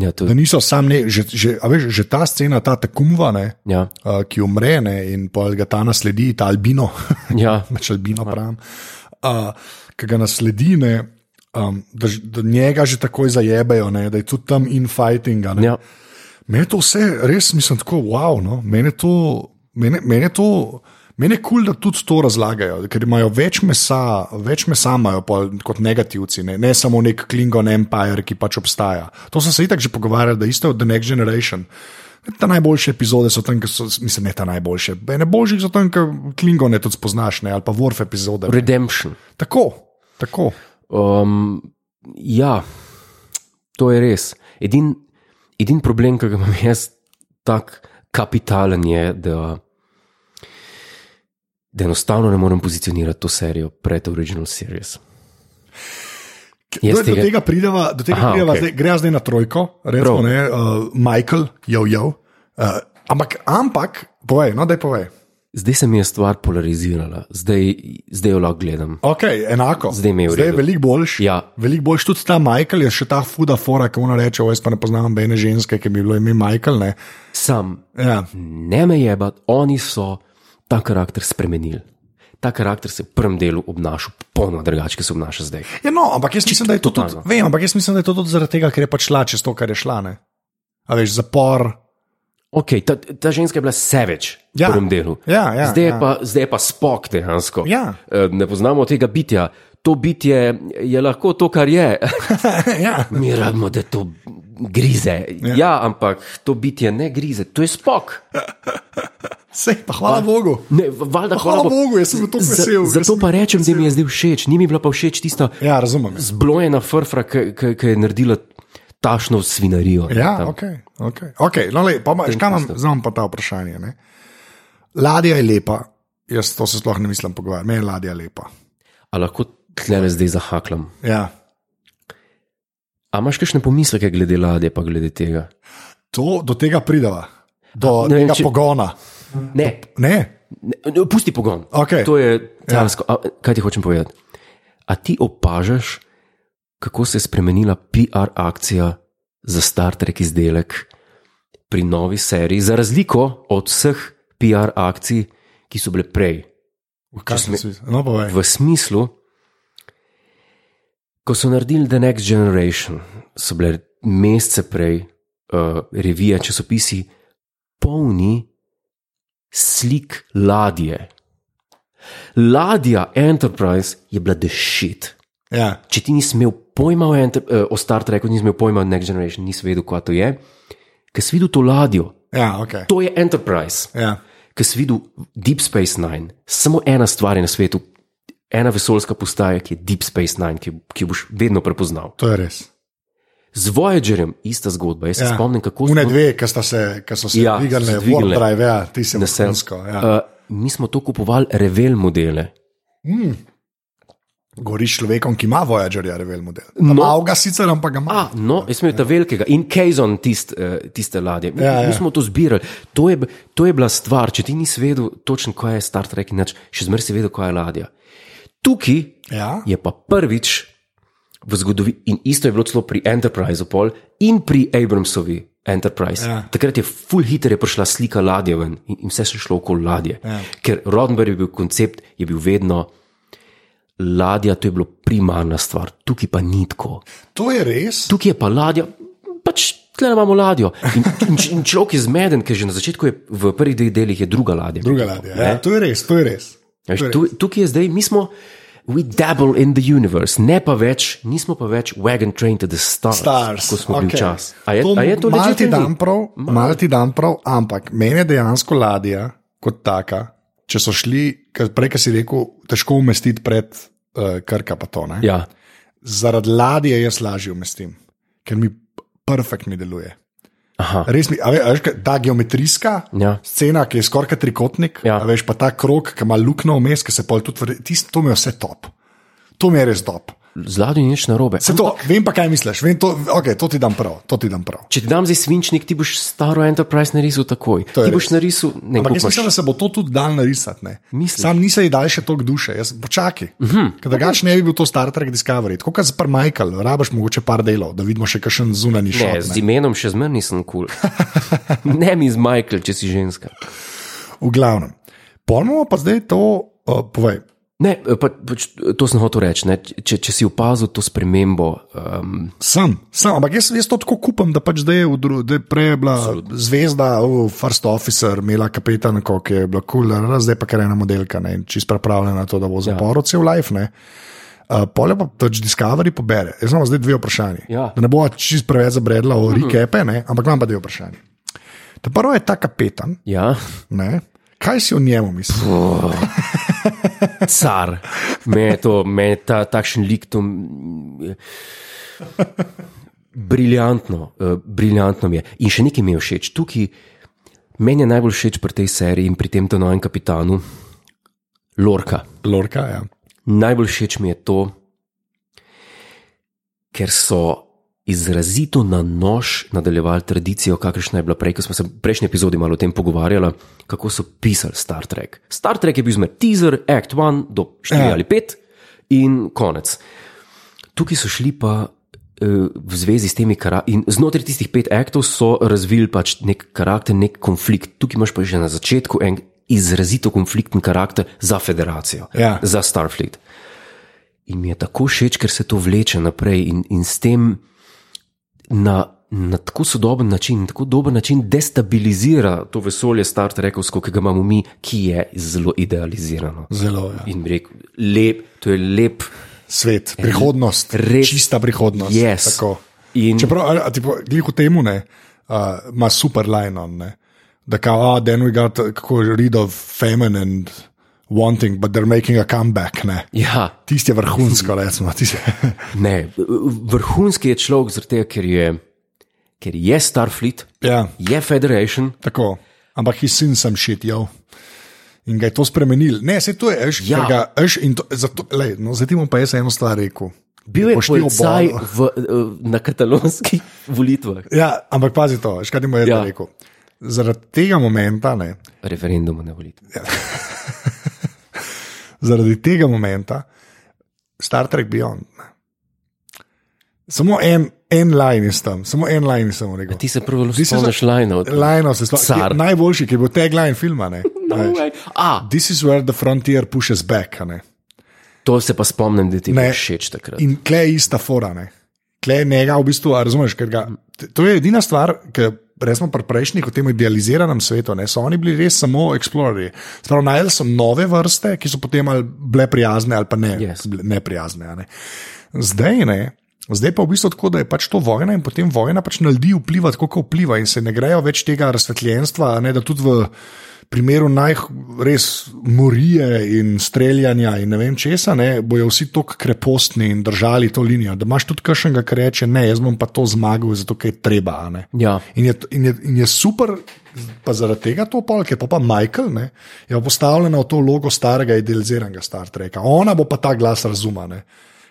Ja, to
Da
je.
niso sam, ne, že, že, a veš, že ta scena, ta tekumva, ne,
Ja,
uh, ki umre ne, in pa ga ta nasledi, ta albino,
ja.
pač albino pravim, uh, ki ga nasledi, ne, um, da, ž- da njega že takoj zajebejo, ne, da je tudi tam infighting. a Ne.
ja.
Mene to vse res, mislim, tako wow. No? Mene to, mene, mene to, mene je kul, cool, da tudi to razlagajo, ker imajo več mesa, več mesa imajo pol kot negativci, ne, ne samo nek Klingon Empire, ki pač obstaja. To so se itak že pogovarjali, da isto od The Next Generation. Ta najboljše epizode so tam, ki so, mislim, ne ta najboljše. Ene boljših so tam, ki Klingone tudi spoznaš, ne, ali pa Worf epizode. ne.
Redemption.
Tako, tako.
Um, ja, to je res. Edini edin problem, ki ga imam jaz, tako kapitalen je, da, da enostavno ne morem pozicionirati to serijo pred original series. Jaz
Do, do
tega-
tega prideva, do tega
Aha,
Aha, prideva
okej.
okay. zdaj, greva zdaj na trojko, recimo,
Prav.
ne, uh, Michael, jo, jo. Uh, ampak, ampak, povej, no, da povej.
Zdaj se mi je stvar polarizirala, zdaj, zdaj jo lahko gledam.
Okay, enako.
Zdaj mi je v
zdaj je
redu.
veliko boljši.
Ja.
Veliko boljši tudi ta Michael, je še ta fuda fora, ki ona reče: Jaz pa ne poznam bene ženske, ki bi bilo ime Michael. Ne.
Sam
Ja.
ne me jebat, oni so ta karakter spremenili. Ta karakter se je v prvem delu obnašal popolnoma drugače, kot se obnaša zdaj.
Ja, no, ampak jaz mislim, da je to tudi,
totalno.
vem, ampak jaz mislim, da je to tudi zaradi tega, ker je pač šla čez to, kar je šla. Ne. A veš, zapor.
Okay, ta, ta ženska je bila seveč v
Ja.
prvem delu.
Ja, ja,
zdaj, je
ja.
pa, zdaj je pa spok dejansko.
Ja.
Eh, Ne poznamo tega bitja. To bitje je lahko to, kar je.
ja.
Mi rabimo, da to grize. Ja. ja, ampak to bitje ne grize, to je spok.
Sej, pa hvala Bogu.
Ne, valjda,
Hvala Bogu, jaz sem bil tako vesel,
Za,
jaz
zato
sem
pa rečem, da mi je zdaj všeč, ni mi bila pa všeč tista
Ja, razumem.
zblojena frfra, ki je naredila tašno svinarijo. ne,
Ja,
tam.
ok. okay. okay no, lej, pa, ma- škaj imam, zdaj imam pa ta vprašanje. Ne? Ladja je lepa, jaz to se sploh ne mislim pogovarjati, meni je ladja lepa.
A lahko tle zdaj zahaklam.
Ja.
A imaš kakšne pomisleke glede ladje, pa glede tega?
To, do tega prideva,
A, ne
do A, ne,
vem,
tega
če-
če... pogona.
Ne,
Ne,
ne, ne pusti pogon.
Okej.
To je dejansko. Ja. Kaj ti hočem povedati? A ti opažaš, kako se je spremenila PR akcija za Star Trek izdelek pri novi seriji, za razliko od vseh PR akcij, ki so bile prej?
kaj
Če
sem si no, povej.
V smislu, ko so naredili The Next Generation, so bile mesece prej uh, revije, časopisi, polni slik ladje. Ladja Enterprise je bila dešit.
Ja.
Če ti nisi imel pojma o, Enter, uh, o Star Treku, nisi imel pojma o Next Generation, nisi vedel, kaj to je, ker si videl to ladjo.
Ja, okay.
To je Enterprise
ja.
ki si videl Deep Space Nine, samo ena stvar je na svetu, ena vesoljska postaja, ki je Deep Space Nine, ki, ki jo boš vedno prepoznal.
To je res.
Z Voyagerjem ista zgodba. Jaz se
Ja.
spomnim, kako
Une
smo-
dve, ki sta se, ki so se
Ja,
ja, dvigali,
so dvignile.
Warp Drive, ja, ti si
da se-
naselsko. Ja.
Uh, mi smo to kupovali, revel modele.
Goriš človekom, ki ima Voyagerja, revel model. No. Mal ga sicer, ampak ga ima.
A, no, jaz sem imel ta velikega in Kejzon tist, eh, tiste ladje. Mi, ja,
Ja,
ja. mi
ja.
smo to zbirali. To je, b- to je bila stvar, če ti nisi vedel točno, kaj je Star Trek, inač, še zmeraj si vedel, kaj je ladja. Tukaj
Ja.
je pa prvič v zgodovini, in isto je bilo celo pri Enterpriseu, pol in pri Abramsovi Enterprise. Ja.
Ja.
Takrat je full hitter je prišla slika ladje ven in, in vse se je šlo okoli ladje. Ja. Ker Rodenberg je bil koncept, je bil vedno. Ladja, to je bila primarna stvar, tukaj pa ni tako.
To je res.
Tukaj je pa ladja, pač tle imamo ladjo. In, in, in človek je zmeden, ker že na začetku je v prvih dveh delih je druga ladja.
Druga ladja. Ja, to je res, to je res.
Veš, tu, tukaj je zdaj, mi smo, we dabble in the universe, ne pa več, nismo pa več wagon train to the stars,
Stars,
kot smo okay. bili
okej.
včasih. A je to,
to,
a je to
malo
legit
ti
ali ni?
dan prav, malo ti dan prav, ampak meni je dejansko ladja kot taka. Če so šli, ker prej ki si rekel, težko umestiti pred uh, krka, pa to ne.
Ja,
Zaradi ladje jaz lažje umestim, ker mi perfektno deluje.
aha,
Res mi, a ve- a veš, kaj, ta geometrijska
Ja.
scena, ki je skoraj trikotnik,
Ja.
ja. veš pa ta krog, ki ima luknjo vmes, ki se pol tudi vrti, to mi je vse top. To mi je res top.
z ladjo ni nič narobe.
Se to, vem pa, kaj misliš, vem to, okay, to ti dam prav. To ti dam prav.
Če ti dam zdaj svinčnik, ti boš staro Enterprise narisal takoj.
To je
Ti boš
res.
narisal nekaj.
Ampak jaz mislim, da se bo to tudi dal narisati. ne.
Misliš? Mhm.
Sam nisem ji dal še toliko duše, jaz počakaj. Uh -huh. Ker drugače ne bi bil to Star Trek Discovery. Tako kot par Michael, rabaš mogoče par delov, da vidimo še kakšen zunanji
Ne,
šov.
z imenom še zmeraj nisem kul. Cool. ne mi z Michael, če si ženska.
V glavnem. Ponovno pa zdaj to uh, povej.
Ne, pa, pač, to sem hotel reči. ne. Če, če si opazil to spremembo, um,
Sam, sam, ampak jaz, jaz to tako kupam, da pač zdaj je, v dru- da je prej bila Absolutno. zvezda, oh, first officer, imela kapetanko, ki je bila kul, cool, zdaj pa kar ena modelka, ne, in čist pripravljena na to, da bo zaporil ja. cel life. Ne. Uh, Polje pa pač Discovery pobere. Jaz imam zdaj dve vprašanje.
Ja.
Da ne bo čist preveč zabredla o rekepe, ne, ampak imam pa dve vprašanje. Ta prvo je ta kapetan,
ja,
ne. kaj si o njemu misliš?
car, me je to, me je ta takšen lik to. mm, Briljantno, eh, briljantno mi je. In še nekaj mi je všeč. Tukaj meni je najbolj všeč pri tej seriji in pri tem ta novem kapitanu, Lorka.
Lorka, ja.
Najbolj všeč mi je to, ker so izrazito na nož nadaljevali tradicijo, kakršna je bila prej, ko smo se v prejšnji epizodi malo o tem pogovarjali, kako so pisali Star Trek. Star Trek je bil zmer teaser, act one do 4
Ja.
ja. ali 5 in konec. Tukaj so šli pa. eh, V zvezi s temi karakteri, in znotraj tistih pet aktov so razvili pač nek karakter, nek konflikt. Tukaj imaš pa že na začetku en izrazito konflikten karakter za federacijo,
Ja.
za Starfleet. In mi je tako všeč, ker se to vleče naprej in, in s tem na, na tako sodoben način, tako dober način destabilizira to vesolje Star Trekovsko, ki ga imamo mi, ki je zelo idealizirano.
Zelo ja.
In bi rekel, lep, to je lep.
svet, prihodnost,
res-
čista prihodnost.
Yes.
Tako.
In-
Čeprav, ali- a tipo, glih v temu ne, uh, ima super line on, ne. da kao, ah, then we got, uh, kako je rid of famine and wanting, but they're making a comeback, ne.
Ja,
Tisti je vrhunsko, recimo. Tisti,
ne, vrhunski je človek zaradi tega, ker je, ker je Starfleet,
ja,
je Federation.
tako. Ampak his sin sem shit, jo. In ga je to spremenil. Ne, se to je, eš,
Ja.
ja. ga, eš, in to, zato, lej, no, zdaj ti bom pa jaz eno stvar rekel.
Bil je
Boš ti v
policaj
boju.
v, eh, na katalonskih volitvah,
Ja, ampak pazi to, veš, kaj ti bom jaz
Ja.
ja. rekel. Zaradi tega momenta, ne,
referendumu na volitvah.
zaradi tega momenta, Star Trek Beyond. ne. Samo en, en line je tam, samo en line sem rekel.
Ti se prvo
This is a-
spomniš lajnov.
Line se
Car.
slavi. Najboljši, ki je bil tagline filma. Ne,
No
Veš.
way. A,
This is where the frontier pushes back. a Ne.
to se pa spomnim, da ti
Ne.
je všeč takrat.
In kle je ista fora. Ne. Kle je njega v bistvu, a razumeš, ker ga. t- To je edina stvar, ki resmo pri prejšnjih, v tem idealiziranem svetu, ne, so oni bili res samo eksplorerji. Spravo, najel so nove vrste, ki so potem ali bile prijazne ali pa ne,
Yes.
yes. neprijazne. a Ne. Zdaj ne. Zdaj pa je v bistvu tako, da je pač to vojna in potem vojna pač na ljudi vpliva tako, kot vpliva, in se ne grejo več tega razsvetljenstva, a ne, da tudi v primeru naj res morije in streljanja in ne vem česa, ne, bojo vsi tako krepostni in držali to linijo. Da imaš tudi kakšnega, ki reče: Ne, jaz bom pa to zmagal, zato ker je treba. a Ne.
Ja.
In je, in, je, in je super, pa zaradi tega to pol, ker pa, pa Michael ne, je postavljena v to logo starega, idealiziranega Star Treka. Ona bo pa ta glas razuma. Ne.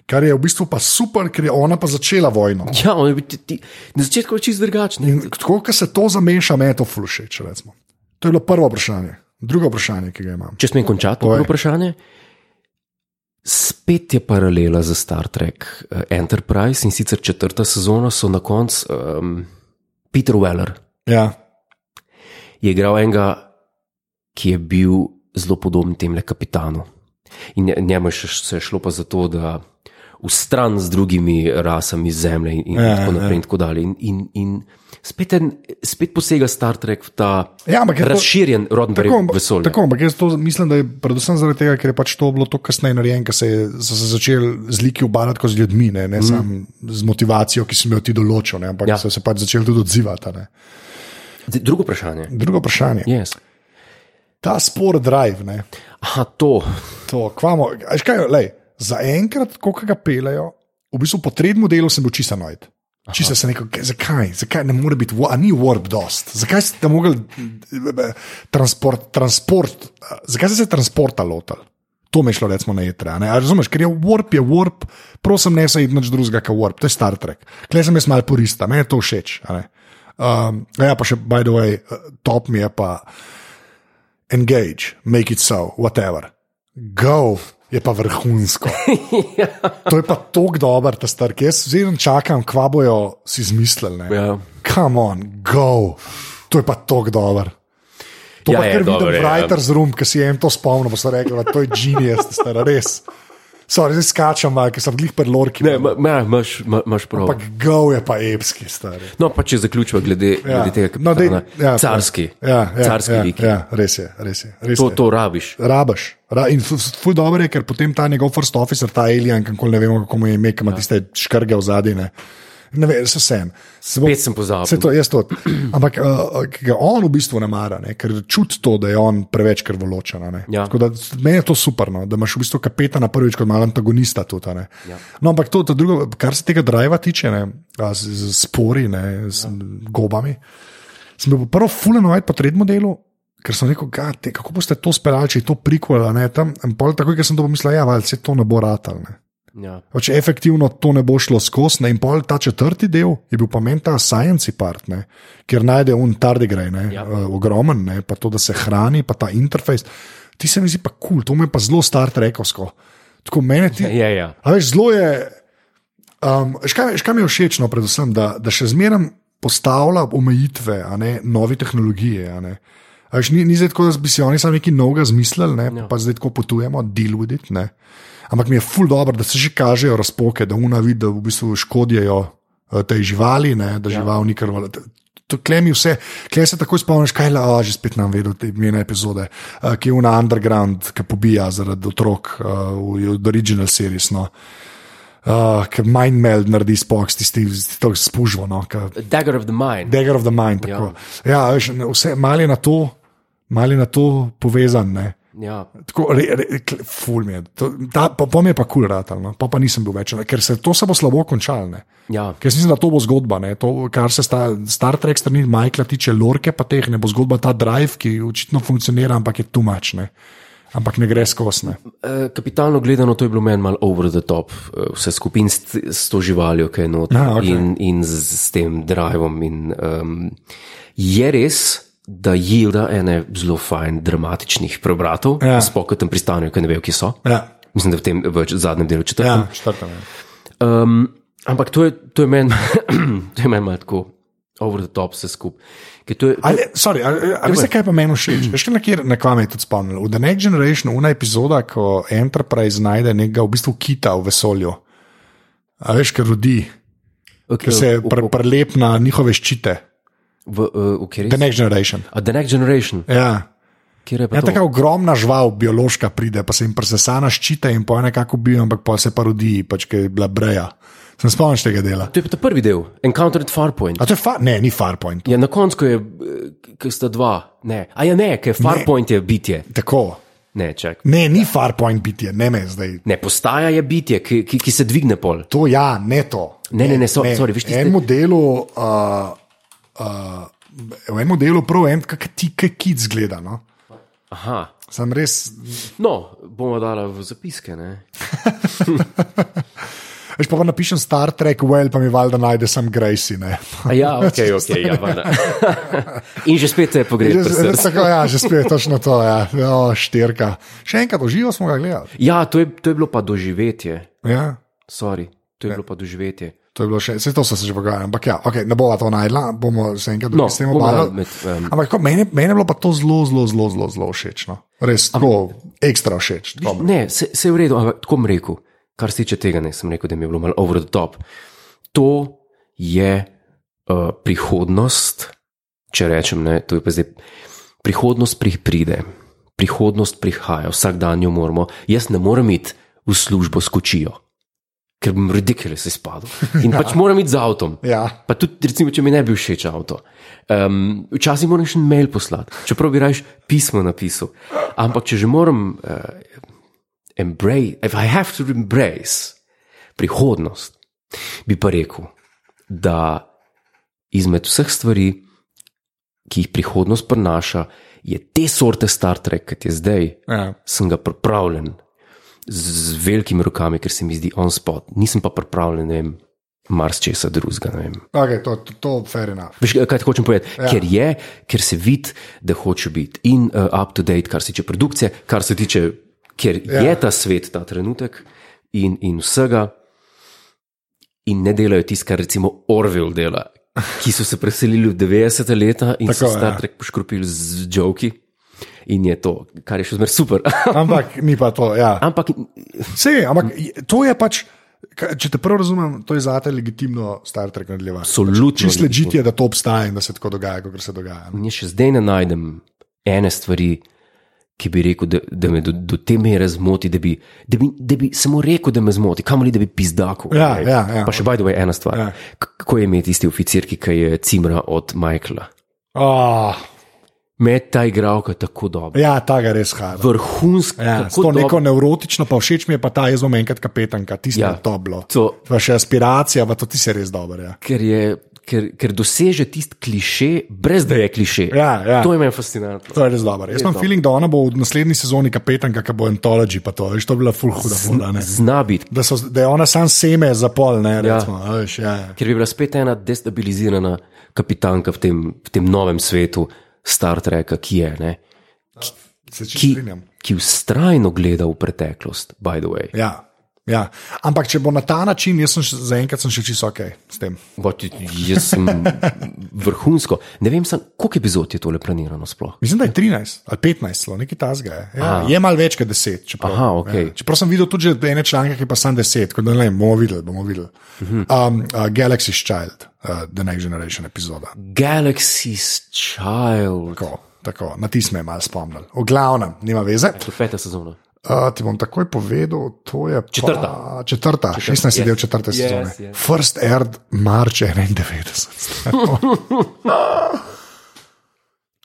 Kar je v bistvu pa super, ker je ona pa začela vojno.
Ja, on je bil ti, ti, na začetku je čist drugačen.
In tako, ko se to zameša, me je to flušeč. Recimo. To je bilo prvo vprašanje. Drugo vprašanje, ki ga imam.
Če smem končati, to je
Povej.
bilo vprašanje. Spet je paralela za Star Trek eh, Enterprise in sicer četrta sezona so na koncu um, Peter Weller
Ja,
je igral enega, ki je bil zelo podoben temu kapitanu. In nje- njemu je še- se je šlo pa za to, da v stran z drugimi rasami zemlje in, in,
Ja,
ja, tako,
ja,
naprej,
ja.
in tako dalje. In, in, in spet, en, spet posega Star Trek v ta
Ja, ampak je to-
razširjen rodbenski
ampak-
vesolje.
Tako, ampak jaz to mislim, da je predvsem zaradi tega, ker je pač to bilo to kasneje narejeno, ker se je- so se začeli z liki ubadati kot z ljudmi, ne, ne mm. samo z motivacijo, ki si jo ti določil, ne, ampak
Ja.
ja. so se pač začeli tudi odzivati. a ne.
Zdaj, Drugo vprašanje.
Drugo vprašanje. Je.
Yes.
Ta spor drive, ne,
Aha, to.
to kvamo, a veš kaj, lej, za enkrat, koliko ga pelejo, v bistvu po tretjem delu sem bil čisto nojd. Čisto se neko, "Kaj, zakaj, zakaj ne more biti, wa- a ni warp dost, zakaj ste mogli eh, eh, transport, transport, eh, zakaj ste se transporta lotili? To mi je šlo, recimo, na jetra. Razumeš, ker je warp, je warp, prosim, ne se id nič drugega, kot warp, to je Star Trek. Klej sem jaz malo purista, meni je to všeč. a ne. Um, ja, pa še, by the way, top mi je pa engage, make it so, whatever. Go je pa vrhunsko. To je pa tako dober, ta star, ki jaz zelo čakam, kva bojo si izmislili. ne.
Ja.
Come on, go. To je pa tako dober. To
Ja,
ja, pa
je,
kar vidim,
dober je, ja.
writer's room, ki si je en to spomnil, pa so rekli, da to je genijus, stara, res. Sorry, zdaj skačem, malo, ker sem glih pred lorki.
Ne, ma- ma- imaš ma- imaš prav.
Ampak go je pa epski, stari.
No, pa če zaključiva glede, ja. glede tega, kar
No, dej- ja,
carski,
Ja, ja,
carski
ja,
lik.
Ja, res je, res je. Res
To,
je.
to rabiš.
Rabaš. Ra, in fu- ful dobro je, ker potem ta njegov first officer, ta alien, kako ne vemo, kako mu je ime, ki ima tiste škrge v zadnje. Ne vem, se sem. Se bom,
Spet sem pozabil.
Se to, jaz to. Ampak uh, ki ga on v bistvu ne mara, ne? ker čuti to, da je on preveč krvoločen. a ne.
Ja.
Tako Da, meni je to super, no? da imaš v bistvu kapetana prvič kot malo antagonista. Tudi, a ne. no, ampak to, to drugo, kar se tega driva tiče, ne? a, z, z spori, ne? z ja. gobami sem bil prvo fulen ovaj po tretjem delu, ker sem rekel, "God, te, kako boste to speljali, če je to prikvala. Ne, tam, in pol takoj, ker sem to pomislil, ja, valjda se to ne bo ratal. Ne.
Ja.
Pač efektivno to ne bo šlo skozi. ne, In pol ta četrti del je bil pa meni ta science part, ne, kjer najde un tardigraj, ne,
Ja.
ja. ogromen, ne, pa to, da se hrani, pa ta interfejs. Ti se mi zdi pa kul, cool, to me pa zelo star trekovsko. Tako meni ti.
Ja, ja.
A veš, zelo je. Um, škaj, škaj mi je všeč, no, predvsem, da, da še zmeraj postavlja omejitve, a ne nove tehnologije. a Ne. A veš, ni, ni zdaj tako, da bi si oni sami nekaj novega zmislili, ne, pa zdaj tako potujemo, deal with it. Ne. Ampak mi je ful dobro, da se že kažejo razpoke, da unavi, da v bistvu škodijo eh, tej živali, ne, da žival ni krvalo. To klemi vse, klemi se tako spomniš, kaj je, a že spet nam vedo te imena epizode, eh, ki je una underground, ki pobija zaradi otrok eh, v v original series. No. Uh, Ker mind meld naredi spoks, tisti, ki to spužvo, no, ke
Dagger of the Mind.
dagger of the mind. Ja, ja veš, ne, vse malo je na to, malo je na to povezan. Ne.
ja.
Tako, re, re, kle- ful mi je. To, ta, pa, pa mi je pa kul cool ratal, no. pa, pa nisem bil več, ne, ker se to se bo slabo končalo. ne.
ja.
Ker jaz mislim, da to bo zgodba, ne. to, kar se sta, Star Trek strani Majkla tiče, lorke pa teh ne bo zgodba, ta drive, ki očitno funkcionira, ampak je tumačne. Ampak ne gre skosne.
Eh, Kapitalno gledano, to je bilo meni malo over the top, eh, vse skupin s, s to živaljo, ki je noter
Ah, okej.
in, in z, z tem drivom. In, um, je res, da jilda ene zelo fajn dramatičnih prebratov, ja.
Ja.
spokojem pristanejo, ki ne vejo, kje so.
Ja,
Mislim, da v tem v zadnjem delu četrtem.
ja. četrta. ne.
Um, ampak to je, to je meni to je meni malo tako, over the top, vse skupaj. Ker to je-
Ali, sorry, ali, ali veste, kaj je pa meni všeč? Veš, na kjer na kvam je tudi spomnil? V The Next Generation, una epizoda, ko Enterprise najde nekega v bistvu kita v vesolju. A veš, ker rodi,
ok,
ker se
v-
pr prelep na njihove ščite.
v- eh, v kateri?
The Next Generation.
A The Next Generation,
Ja.
kjer je pa
Ja,
to?
taka ogromna žival, biološka, pride, pa se jim presesana ščite in po nekako ubijo, ampak pa se pa rodi, pač ki je bila breja. Sem spomniš tega dela.
To je pa ta prvi del, Encounter at Farpoint.
A to je fa, ne, ni Farpoint.
Ja, na koncu ko je, ki sta dva, ne, a ja ne, ker Farpoint je bitje.
Tako.
Ne, čak.
Ne, ni Farpoint bitje, ne me zdaj.
Ne, postaja je bitje, ki, ki, ki se dvigne pol.
To ja, ne to.
Ne, ne, ne, so, sorry, viš, tiste,
Enemu delu, uh, uh, v enem delu prav en, kak ti kit zgleda. No?
aha.
Sam res,
No, bomo dala v zapiske, ne.
veš pa, pa napišem Star Trek, well, pa mi valjda najde sam Gracie. Ne?
A ja, ok, ok, ja, vada. In že spet te je pogrešal.
Že,
pri
že,
srcu.
tako, ja, že spet je točno to, ja. o, štirka. Še enkrat, oživo smo ga gledali.
Ja, to je, to je bilo pa doživetje,
Ja.
sorry, to je bilo pa doživetje.
To je bilo še, vse to so se že pogajali, ampak ja, okay, ne bova to najdla, bomo se enkrat
No,
no, s tem
bomo dali
obadali.
med, um,
Ampak tako, meni, meni je bilo pa to zelo, zelo, zelo, zelo, zelo všeč. No. Res, tako, ekstra všeč. Dobro.
Ne, se, se je v redu, ampak tako bom rekel. Kar se tiče tega, ne, sem rekel, da mi je bilo malo over the top. To je uh, prihodnost, če rečem, ne, to je pa zdaj. Prihodnost pri pride, prihodnost prihaja, vsak dan jo moramo. Jaz ne morem iti v službo s kočijo, ker bom ridikele se spadal. In ja. pač moram iti z avtom.
Ja.
Pa tudi, recimo, če mi ne bi všeč avto. Um, včasih moram še en mail poslati, čeprav bi raje pismo napisal. Ampak če že moram uh, embrace, if I have to embrace prihodnost, bi pa rekel, da izmed vseh stvari, ki jih prihodnost prinaša, je te sorte Star Trek, kot je zdaj,
Ja.
sem ga pripravljen z, z velikimi rokami, ker se mi zdi on spot. Nisem pa pripravljen, ne vem, marsičesa drugega. ne vem.
Okay, to, to, to fair enough.
Veš, kaj ti hočem povedati?
Ja.
Ja. Ker je, ker se vidi, da hoče biti in uh, up to date, kar se tiče produkcije, kar se tiče, ker ja.
Ja.
je ta svet, ta trenutek in, in vsega. In ne delajo tisto, kar recimo Orwell dela, ki so se preselili v 90-ta leta in Tako, so
Tako, ja.
Star Trek poškropili z joki. In je to, kar je še zmeraj super.
Ampak ni pa to. Ja.
Ampak
Sej, ampak je- to je pač, ka- če te prav razumem, to je zate legitimno Star Trek nadaljevanje.
absolutno.
Čist ležite, da to obstaja in da se tako dogaja, kot se dogaja. no. ne.
In jaz še zdaj ne najdem ene stvari, ki bi rekel, da, da me do, do te mere zmoti, da bi, da, bi, da bi samo rekel, da me zmoti, kam ali da bi pizdako.
Ja, ja, ja.
Pa še bajdo je ena stvar.
Ja.
Ja. Kako je imeti tisti oficir, ki ga je cimra od Michaela?
Oh,
Med ta igravka tako dobro.
ja, ta ga res hara.
Vrhunsko,
Ja, s
kako
to neko
dobro.
nevrotično, pa všeč mi je pa ta, jaz bom enkrat kapetanka, tisto ja.
Ja.
to bilo.
To,
Pa še aspiracija, pa to ti se res dobro. Ja.
ker, je, ker, ker doseže tisti kliše, brez da je kliše.
Ja, ja.
To je meni fascinantno.
To je res dobro. Jaz imam feeling, da ona bo v naslednji sezoni kapetanka, ki bo antology, pa to, veš, to bi bila full huda voda.
Zna biti,
Da, so, da je ona sam seme za pol, ne recimo. Ja. Veš, ja, ja.
Ker bi bila spet ena destabilizirana kapitanka v tem, v tem novem svetu, Star Treka, ki je, ne,
Se čisto
ki,
strinjam.
ki vztrajno gleda v preteklost, by the way.
Ja, ja. Ampak če bo na ta način, jaz sem še, zaenkrat sem še čisto ok s tem.
But, jaz sem vrhunsko. Ne vem, sam, koliko epizod je tole planirano sploh.
Mislim, da je 13 ali 15, celo, nekaj tasga je. Ja, je malo več kot 10. Čeprav,
Aha, okej.
ja. čeprav sem videl tudi že ene članke, ki pa sem 10, kot da ne vem, bomo videli. Bomo videli. Um, uh, Galaxy's Child, uh, The Next Generation epizoda.
Galaxy's Child,
Tako, tako, na ti smo malo spomnili. V glavnem, nima veze.
to je peta sezona.
Uh, ti bom takoj povedal, to je
Četrta.
Pa, četrta, četrta 16 yes. del četrte yes, sezone. Yes. First aired March 91.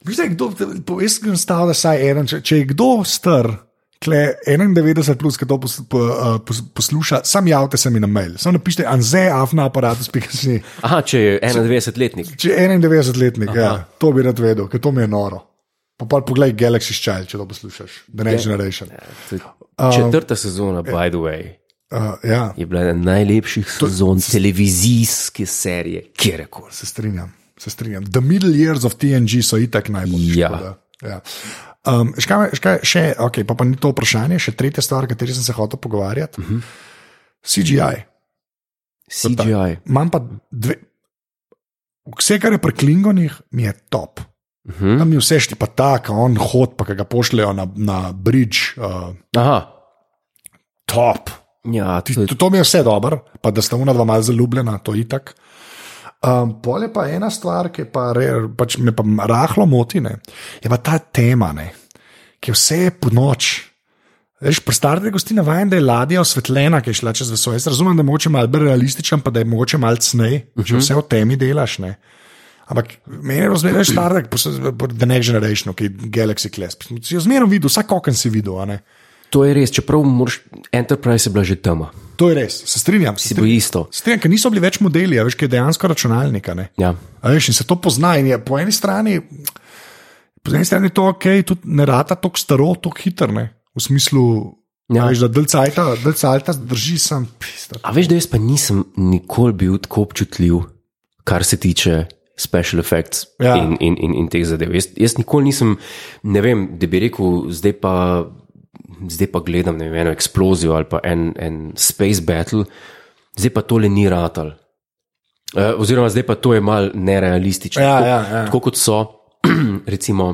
Veste, kdo, jaz sem stal, da saj en, če, če je kdo star. Kle 91 plus, ki to pos, po, uh, pos, posluša, sam javite se mi na mail. Sam napišite anze, afna aparatus, pika si.
Aha, če je 91-letnik.
Če je 91-letnik, ja, to bi rad vedel, ker to mi je noro. Pa pol poglej Galaxy's Child, če to poslušaš, The Next Generation.
Četrta sezona, by the way,
Uh, ja.
je bila ena najlepših sezon televizijske serije, kjerkoli.
Se strinjam, se strinjam. The middle years of TNG so itak najboljši.
Ja.
tako da, ja. Um, škaj, škaj, še, okay, pa, pa ni to vprašanje, še tretja stvar, o kateri sem se hotel pogovarjati. Uh -huh. CGI.
CGI.
Imam pa dve. Vse, kar je pri Klingonih, mi je top.
Uh -huh.
Tam mi vse šti pa tako, on hod, pa ki ga pošljejo na, na bridge, uh,
Aha,
top.
Ja,
Ti,
to je
to, to mi je vse dobro, pa da sta ona dva malce zaljubljena, to je itak. Um, Pole pa ena stvar, ki pa, re, pač me pa rahlo moti, ne, je pa ta tema, ne, ki je vse je po noč. Veš, prestarite gosti navajen, da je ladja osvetljena, ki je šla čez vesolje. Jaz razumem, da je mogoče malo bolj realističen, pa da je mogoče malo snej, uh -huh. če vse v temi delaš. Ne. Ampak meni je zmeraj Star Trek, posebej The Next Generation, ki je Galaxy Class. Si jo zmeraj videl, vsak okon si videl. a ne.
To je res, čeprav moraš, Enterprise je bila že tema,
To je res, se strinjam. Se
si bo
strinjam.
isto.
Strenjam, ker niso bili več modeli, a veš, ki je dejansko računalnik. a ne.
Ja.
A Veš, in se to pozna. in Je, po eni strani, po eni strani je to ok, tudi ne rata tako staro, tako hitro. ne. V smislu,
Ja.
ja. veš, da delcajta drži sam pista.
A veš, da jaz pa nisem nikoli bil tako občutljiv, kar se tiče special effects
Ja.
ja. in, in, in, in teh zadev. Jaz, jaz nikoli nisem, ne vem, da bi rekel, zdaj pa, zdaj pa gledam ne vem, eno eksplozijo ali pa en, en space battle, zdaj pa tole ni ratal. Uh, oziroma, zdaj pa to je mal nerealistično.
Ja,
tako,
ja, ja.
tako kot so, recimo,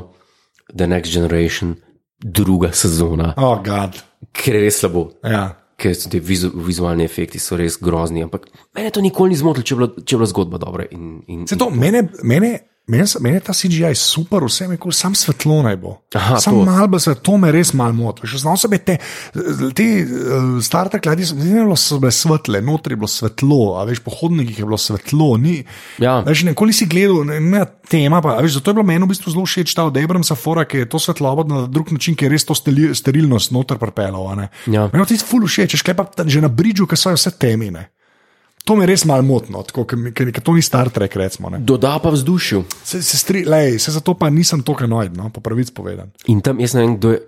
The Next Generation, druga sezona.
Oh, gad.
ker je res slabo.
Ja.
Ker so ti vizu, vizualni efekti so res grozni, ampak mene to nikoli ni zmotilo, če je bila, če je bila zgodba dobra. In, in,
Se to, mene, mene, mene, se- mene ta CGI super, vse mi kul, sam svetlo naj bo.
Aha,
sam
to.
malo bo svetlo, to me res malo moti. Še znal sem biti te, te eh, Star Trek ladje, so- ne bilo so bile svetle, notri je bilo svetlo, a veš, po hodnikih je bilo svetlo, ni.
Ja.
Veš, nikoli si gledal, ne, ne ja, tema, pa, a veš, zato je bilo meni v bistvu zelo všeč ta od Abramsa Fora, ki je to svetlobo na drug način, ki je res to steli- sterilnost noter pripeljal. a ne.
Ja.
Meni je ti ful všeč, škaj pa ta- že na bridžu, ki so vse temine. To me res malo motno, tako, ker, mi- ker, ker to ni Star Trek. Recimo, ne.
Doda pa vzdušju.
se, se, stri, lej, se zato pa nisem tako enojen, no, po pravici povedan.
In tam jaz ne vem, kdo je.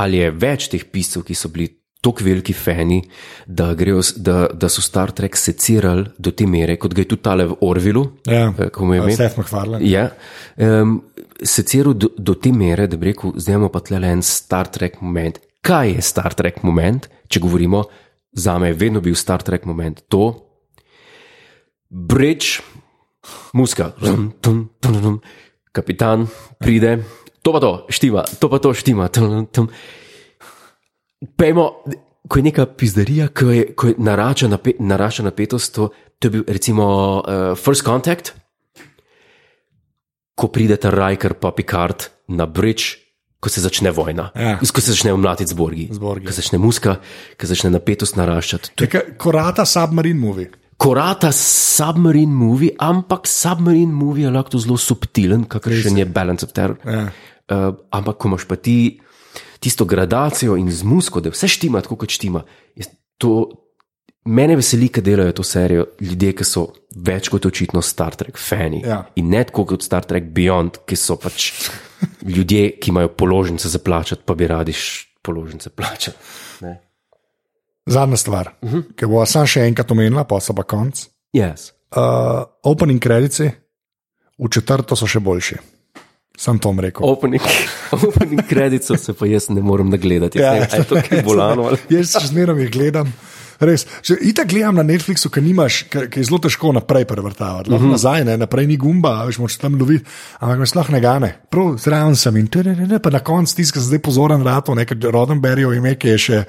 Ali je več teh piscev, ki so bili tako veliki fani, da, grejo, s- da, da so Star Trek secirali do te mere, kot ga je tudi tale v Orvilu,
Ja.
Eh, kako mu je ime.
Stef McFarlane.
Ja, um, seciral do, do te mere, da bi rekel, zdaj imamo pa tle en Star Trek moment. Kaj je Star Trek moment, če govorimo, za me je vedno bil Star Trek moment to, bridge, muska, tum, tum, tum, tum, tum. kapitan pride, to pa to, štima, to pa to štima. Tum, tum. Pejmo, ko je neka pizdarija, ko je, ko je narača, nape, narača napetost, to, to je bil recimo uh, First Contact ko prideta Rajker pa Picard na bridge, ko se začne vojna,
Ja.
ko se začne mlatiti z borgi,
borgi.
ko se začne muska, ko se začne napetost naraščati. To je
Taka Korata submarine movie.
korata submarine movie, ampak submarine movie je lahko zelo subtilen, kakršen je Balance of Terror.
Ja.
Uh, ampak ko imaš pa ti tisto gradacijo in z musko, da vse štima, tako kot štima. jaz To, mene veseli, da delajo to serijo ljudje, ki so več kot očitno Star Trek fani.
Ja.
In ne tako kot Star Trek Beyond, ki so pač ljudje, ki imajo položnice za plačati, pa bi radi š- položnice plačati. Ne?
Zadnja stvar, uh
Mhm.
-huh. ki bo sam še enkrat omenila, pa so pa konc.
Yes.
Uh, opening kredici v četrto so še boljši. Sem to vam rekel.
Opening, opening kreditov se pa jaz ne morem nagledati. Ja, ne, vem, a je to kaj bolano? ali-
Jaz še zmeraj jih gledam. Res, če itak gledam na Netflixu, ki nimaš, ki ki je zelo težko naprej prevrtavati, lahko
Mhm.
mm -hmm. nazaj, ne, naprej ni gumba, a veš, moč tam loviti, ampak me sploh ne gane. Prav zraven sem in tudi, pa na koncu tiska zdaj pozoren rato, nekaj Rodenberjev ime, ki je še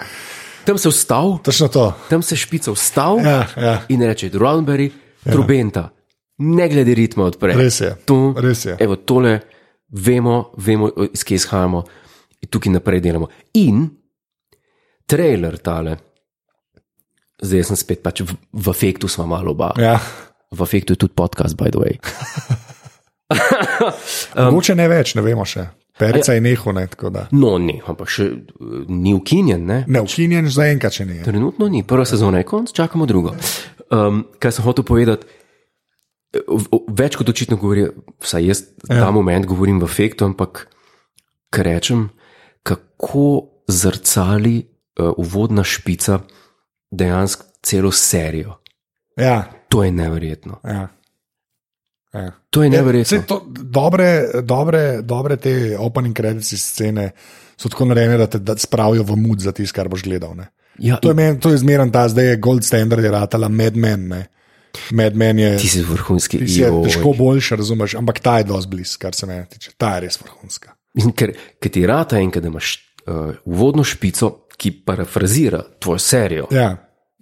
Tam se vstal,
točno to.
tam se špica vstal
Ja, ja.
in reče: Roundberry, ja. trubenta, ne glede ritma odpre.
Res je,
To,
res je.
Evo, tole vemo, vemo, iz kje izhajamo, in tukaj naprej delamo. In trailer tale, zdaj sem spet pač v, v efektu, smo malo oba.
Ja.
V efektu je tudi podcast, by the way.
Mogoče ne več, ne vemo še.
ja.
Perica je nehal, ne, tako da.
No, ne, ampak še eh, ni ukinjen, ne?
Ne, ukinjen za enkrat, če ne. je.
Trenutno ni, prva sezona je konc, čakamo drugo. Um, kaj sem hotel povedati? E, v- v- Več kot očitno govori, vsaj jaz ja. ta moment govorim v efektu, ampak kar rečem, kako zrcali uh, uvodna špica dejansko celo serijo.
Ja,
To je neverjetno.
ja. ja.
To je neverjetno.
Saj To, dobre, dobre, dobre te opening credits scene so tako narejene, da te da spravijo v mud za tisto, kar boš gledal. Ne?
Ja,
To je, men, to je zmeren ta, zdaj je gold standard, je ratala Mad Men. ne. Mad Men je,
ti si vrhunski
ti si je
joj.
težko boljši, razumeš, ampak ta je dosti blizu, kar se mene tiče. Ta je res vrhunska.
In ker, ker ti rata enkrat, da imaš uh, uvodno špico, ki parafrazira tvojo serijo. Ja.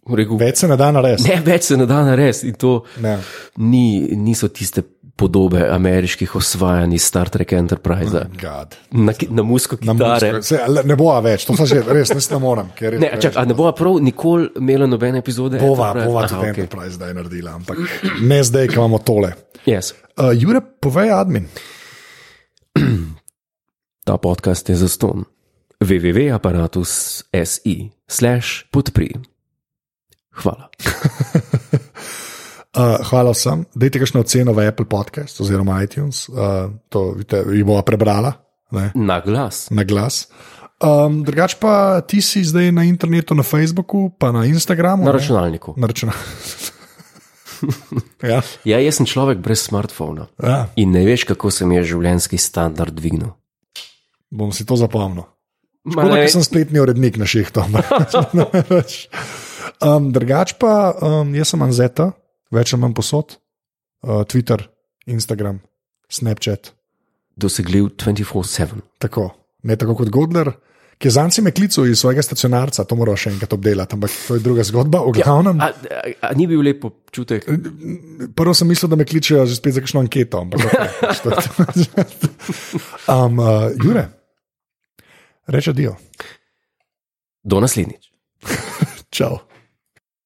Ja,
Rekel,
več se ne da narediti.
Ne, več se ne da narediti. in to
Ne.
Ni, niso tiste podobe ameriških osvajanj iz Star Trek Enterprise,
God.
na, ki- na musko
Na
kitare.
musko- Se, ali ne bo več, to sem že, res res ne morem. ker je
Ne,
preveč.
čak, a ne bova prav nikoli imela nobene epizode?
ja. Bova,
Enterprise?
bova
Aha,
tudi
ok.
Enterprise zdaj naredila, ampak ne zdaj, ko imamo tole.
Yes.
Uh, Jure, povej, admin.
Ta podcast je zaston. www.apparatus.si slash podpri. Hvala.
Uh, hvala vsem. Dajte kakšno oceno v Apple podcast oziroma iTunes, uh, to vidite, jih bova prebrala ne,
Na glas.
na glas. Um, drugač pa ti si zdaj na internetu, na Facebooku, pa na Instagramu.
Na
ne?
računalniku.
Na računalniku. ja.
Ja, jaz sem človek brez smartfona.
ja,
In ne veš, kako se mi je življenjski standard dvignil.
bom si to zapomnil.
Ma
Tako
ne-
da sem spletni urednik na ših tam. um, drugač pa um, jaz sem Anzeta, več imam posod, uh, Twitter, Instagram, Snapchat.
Dosegljiv 24-7.
Tako, ne tako kot Godler, ki je zanci me klical iz svojega stacionarca, to moramo še enkrat obdelati, ampak to je druga zgodba. V glavnem,
A, a, a ni bil lep občutek?
prvo sem mislil, da me kličejo že spet za kakšno anketo. Ampak, okay, što je to. um, uh, Jure, reče dio.
Do naslednjič.
Čau.